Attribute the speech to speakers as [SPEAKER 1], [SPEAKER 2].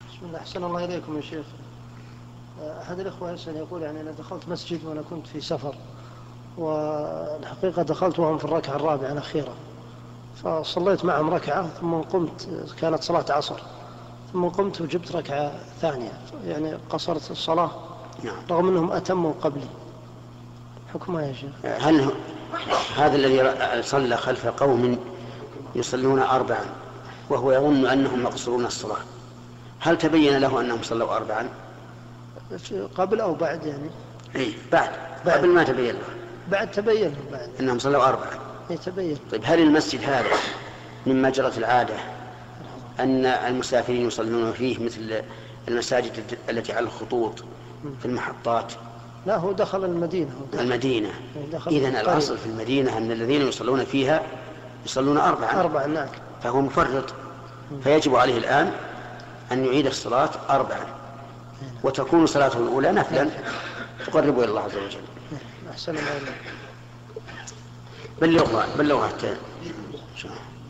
[SPEAKER 1] بسم الله أحسن الله إليكم يا شيخ آه، أحد الإخوة يسأل يقول يعني أنا دخلت مسجد وأنا كنت في سفر والحقيقة دخلت وهم في الركعة الرابعة الأخيرة فصليت معهم ركعة ثم قمت كانت صلاة عصر ثم قمت وجبت ركعة ثانية يعني قصرت الصلاة
[SPEAKER 2] نعم
[SPEAKER 1] رغم أنهم أتموا قبلي حكمها يا شيخ
[SPEAKER 2] هل هو- هذا الذي ر- صلى خلف قوم يصلون أربعا وهو يظن أنهم مقصرون الصلاة هل تبين له أنهم صلوا أربعا؟
[SPEAKER 1] قبل أو بعد يعني
[SPEAKER 2] أي بعد
[SPEAKER 1] بعد.
[SPEAKER 2] قبل ما تبين له
[SPEAKER 1] بعد تبين لهم بعد
[SPEAKER 2] أنهم صلوا أربعا
[SPEAKER 1] يتبين
[SPEAKER 2] طيب هل المسجد هذا مما جرت العادة أن المسافرين يصلون فيه مثل المساجد الت- التي على الخطوط في المحطات
[SPEAKER 1] لا هو دخل المدينة هو دخل-
[SPEAKER 2] المدينة
[SPEAKER 1] دخل
[SPEAKER 2] إذا
[SPEAKER 1] القرية.
[SPEAKER 2] الأصل في المدينة أن الذين يصلون فيها يصلون أربعا
[SPEAKER 1] أربع نعم
[SPEAKER 2] فهو مفرط فيجب عليه الآن أن يعيد الصلاة أربعا وتكون صلاته الأولى نفلا تقرب إلى الله عز وجل
[SPEAKER 1] أحسن الله إليك
[SPEAKER 2] بلغها بلغها حتى إن شاء الله.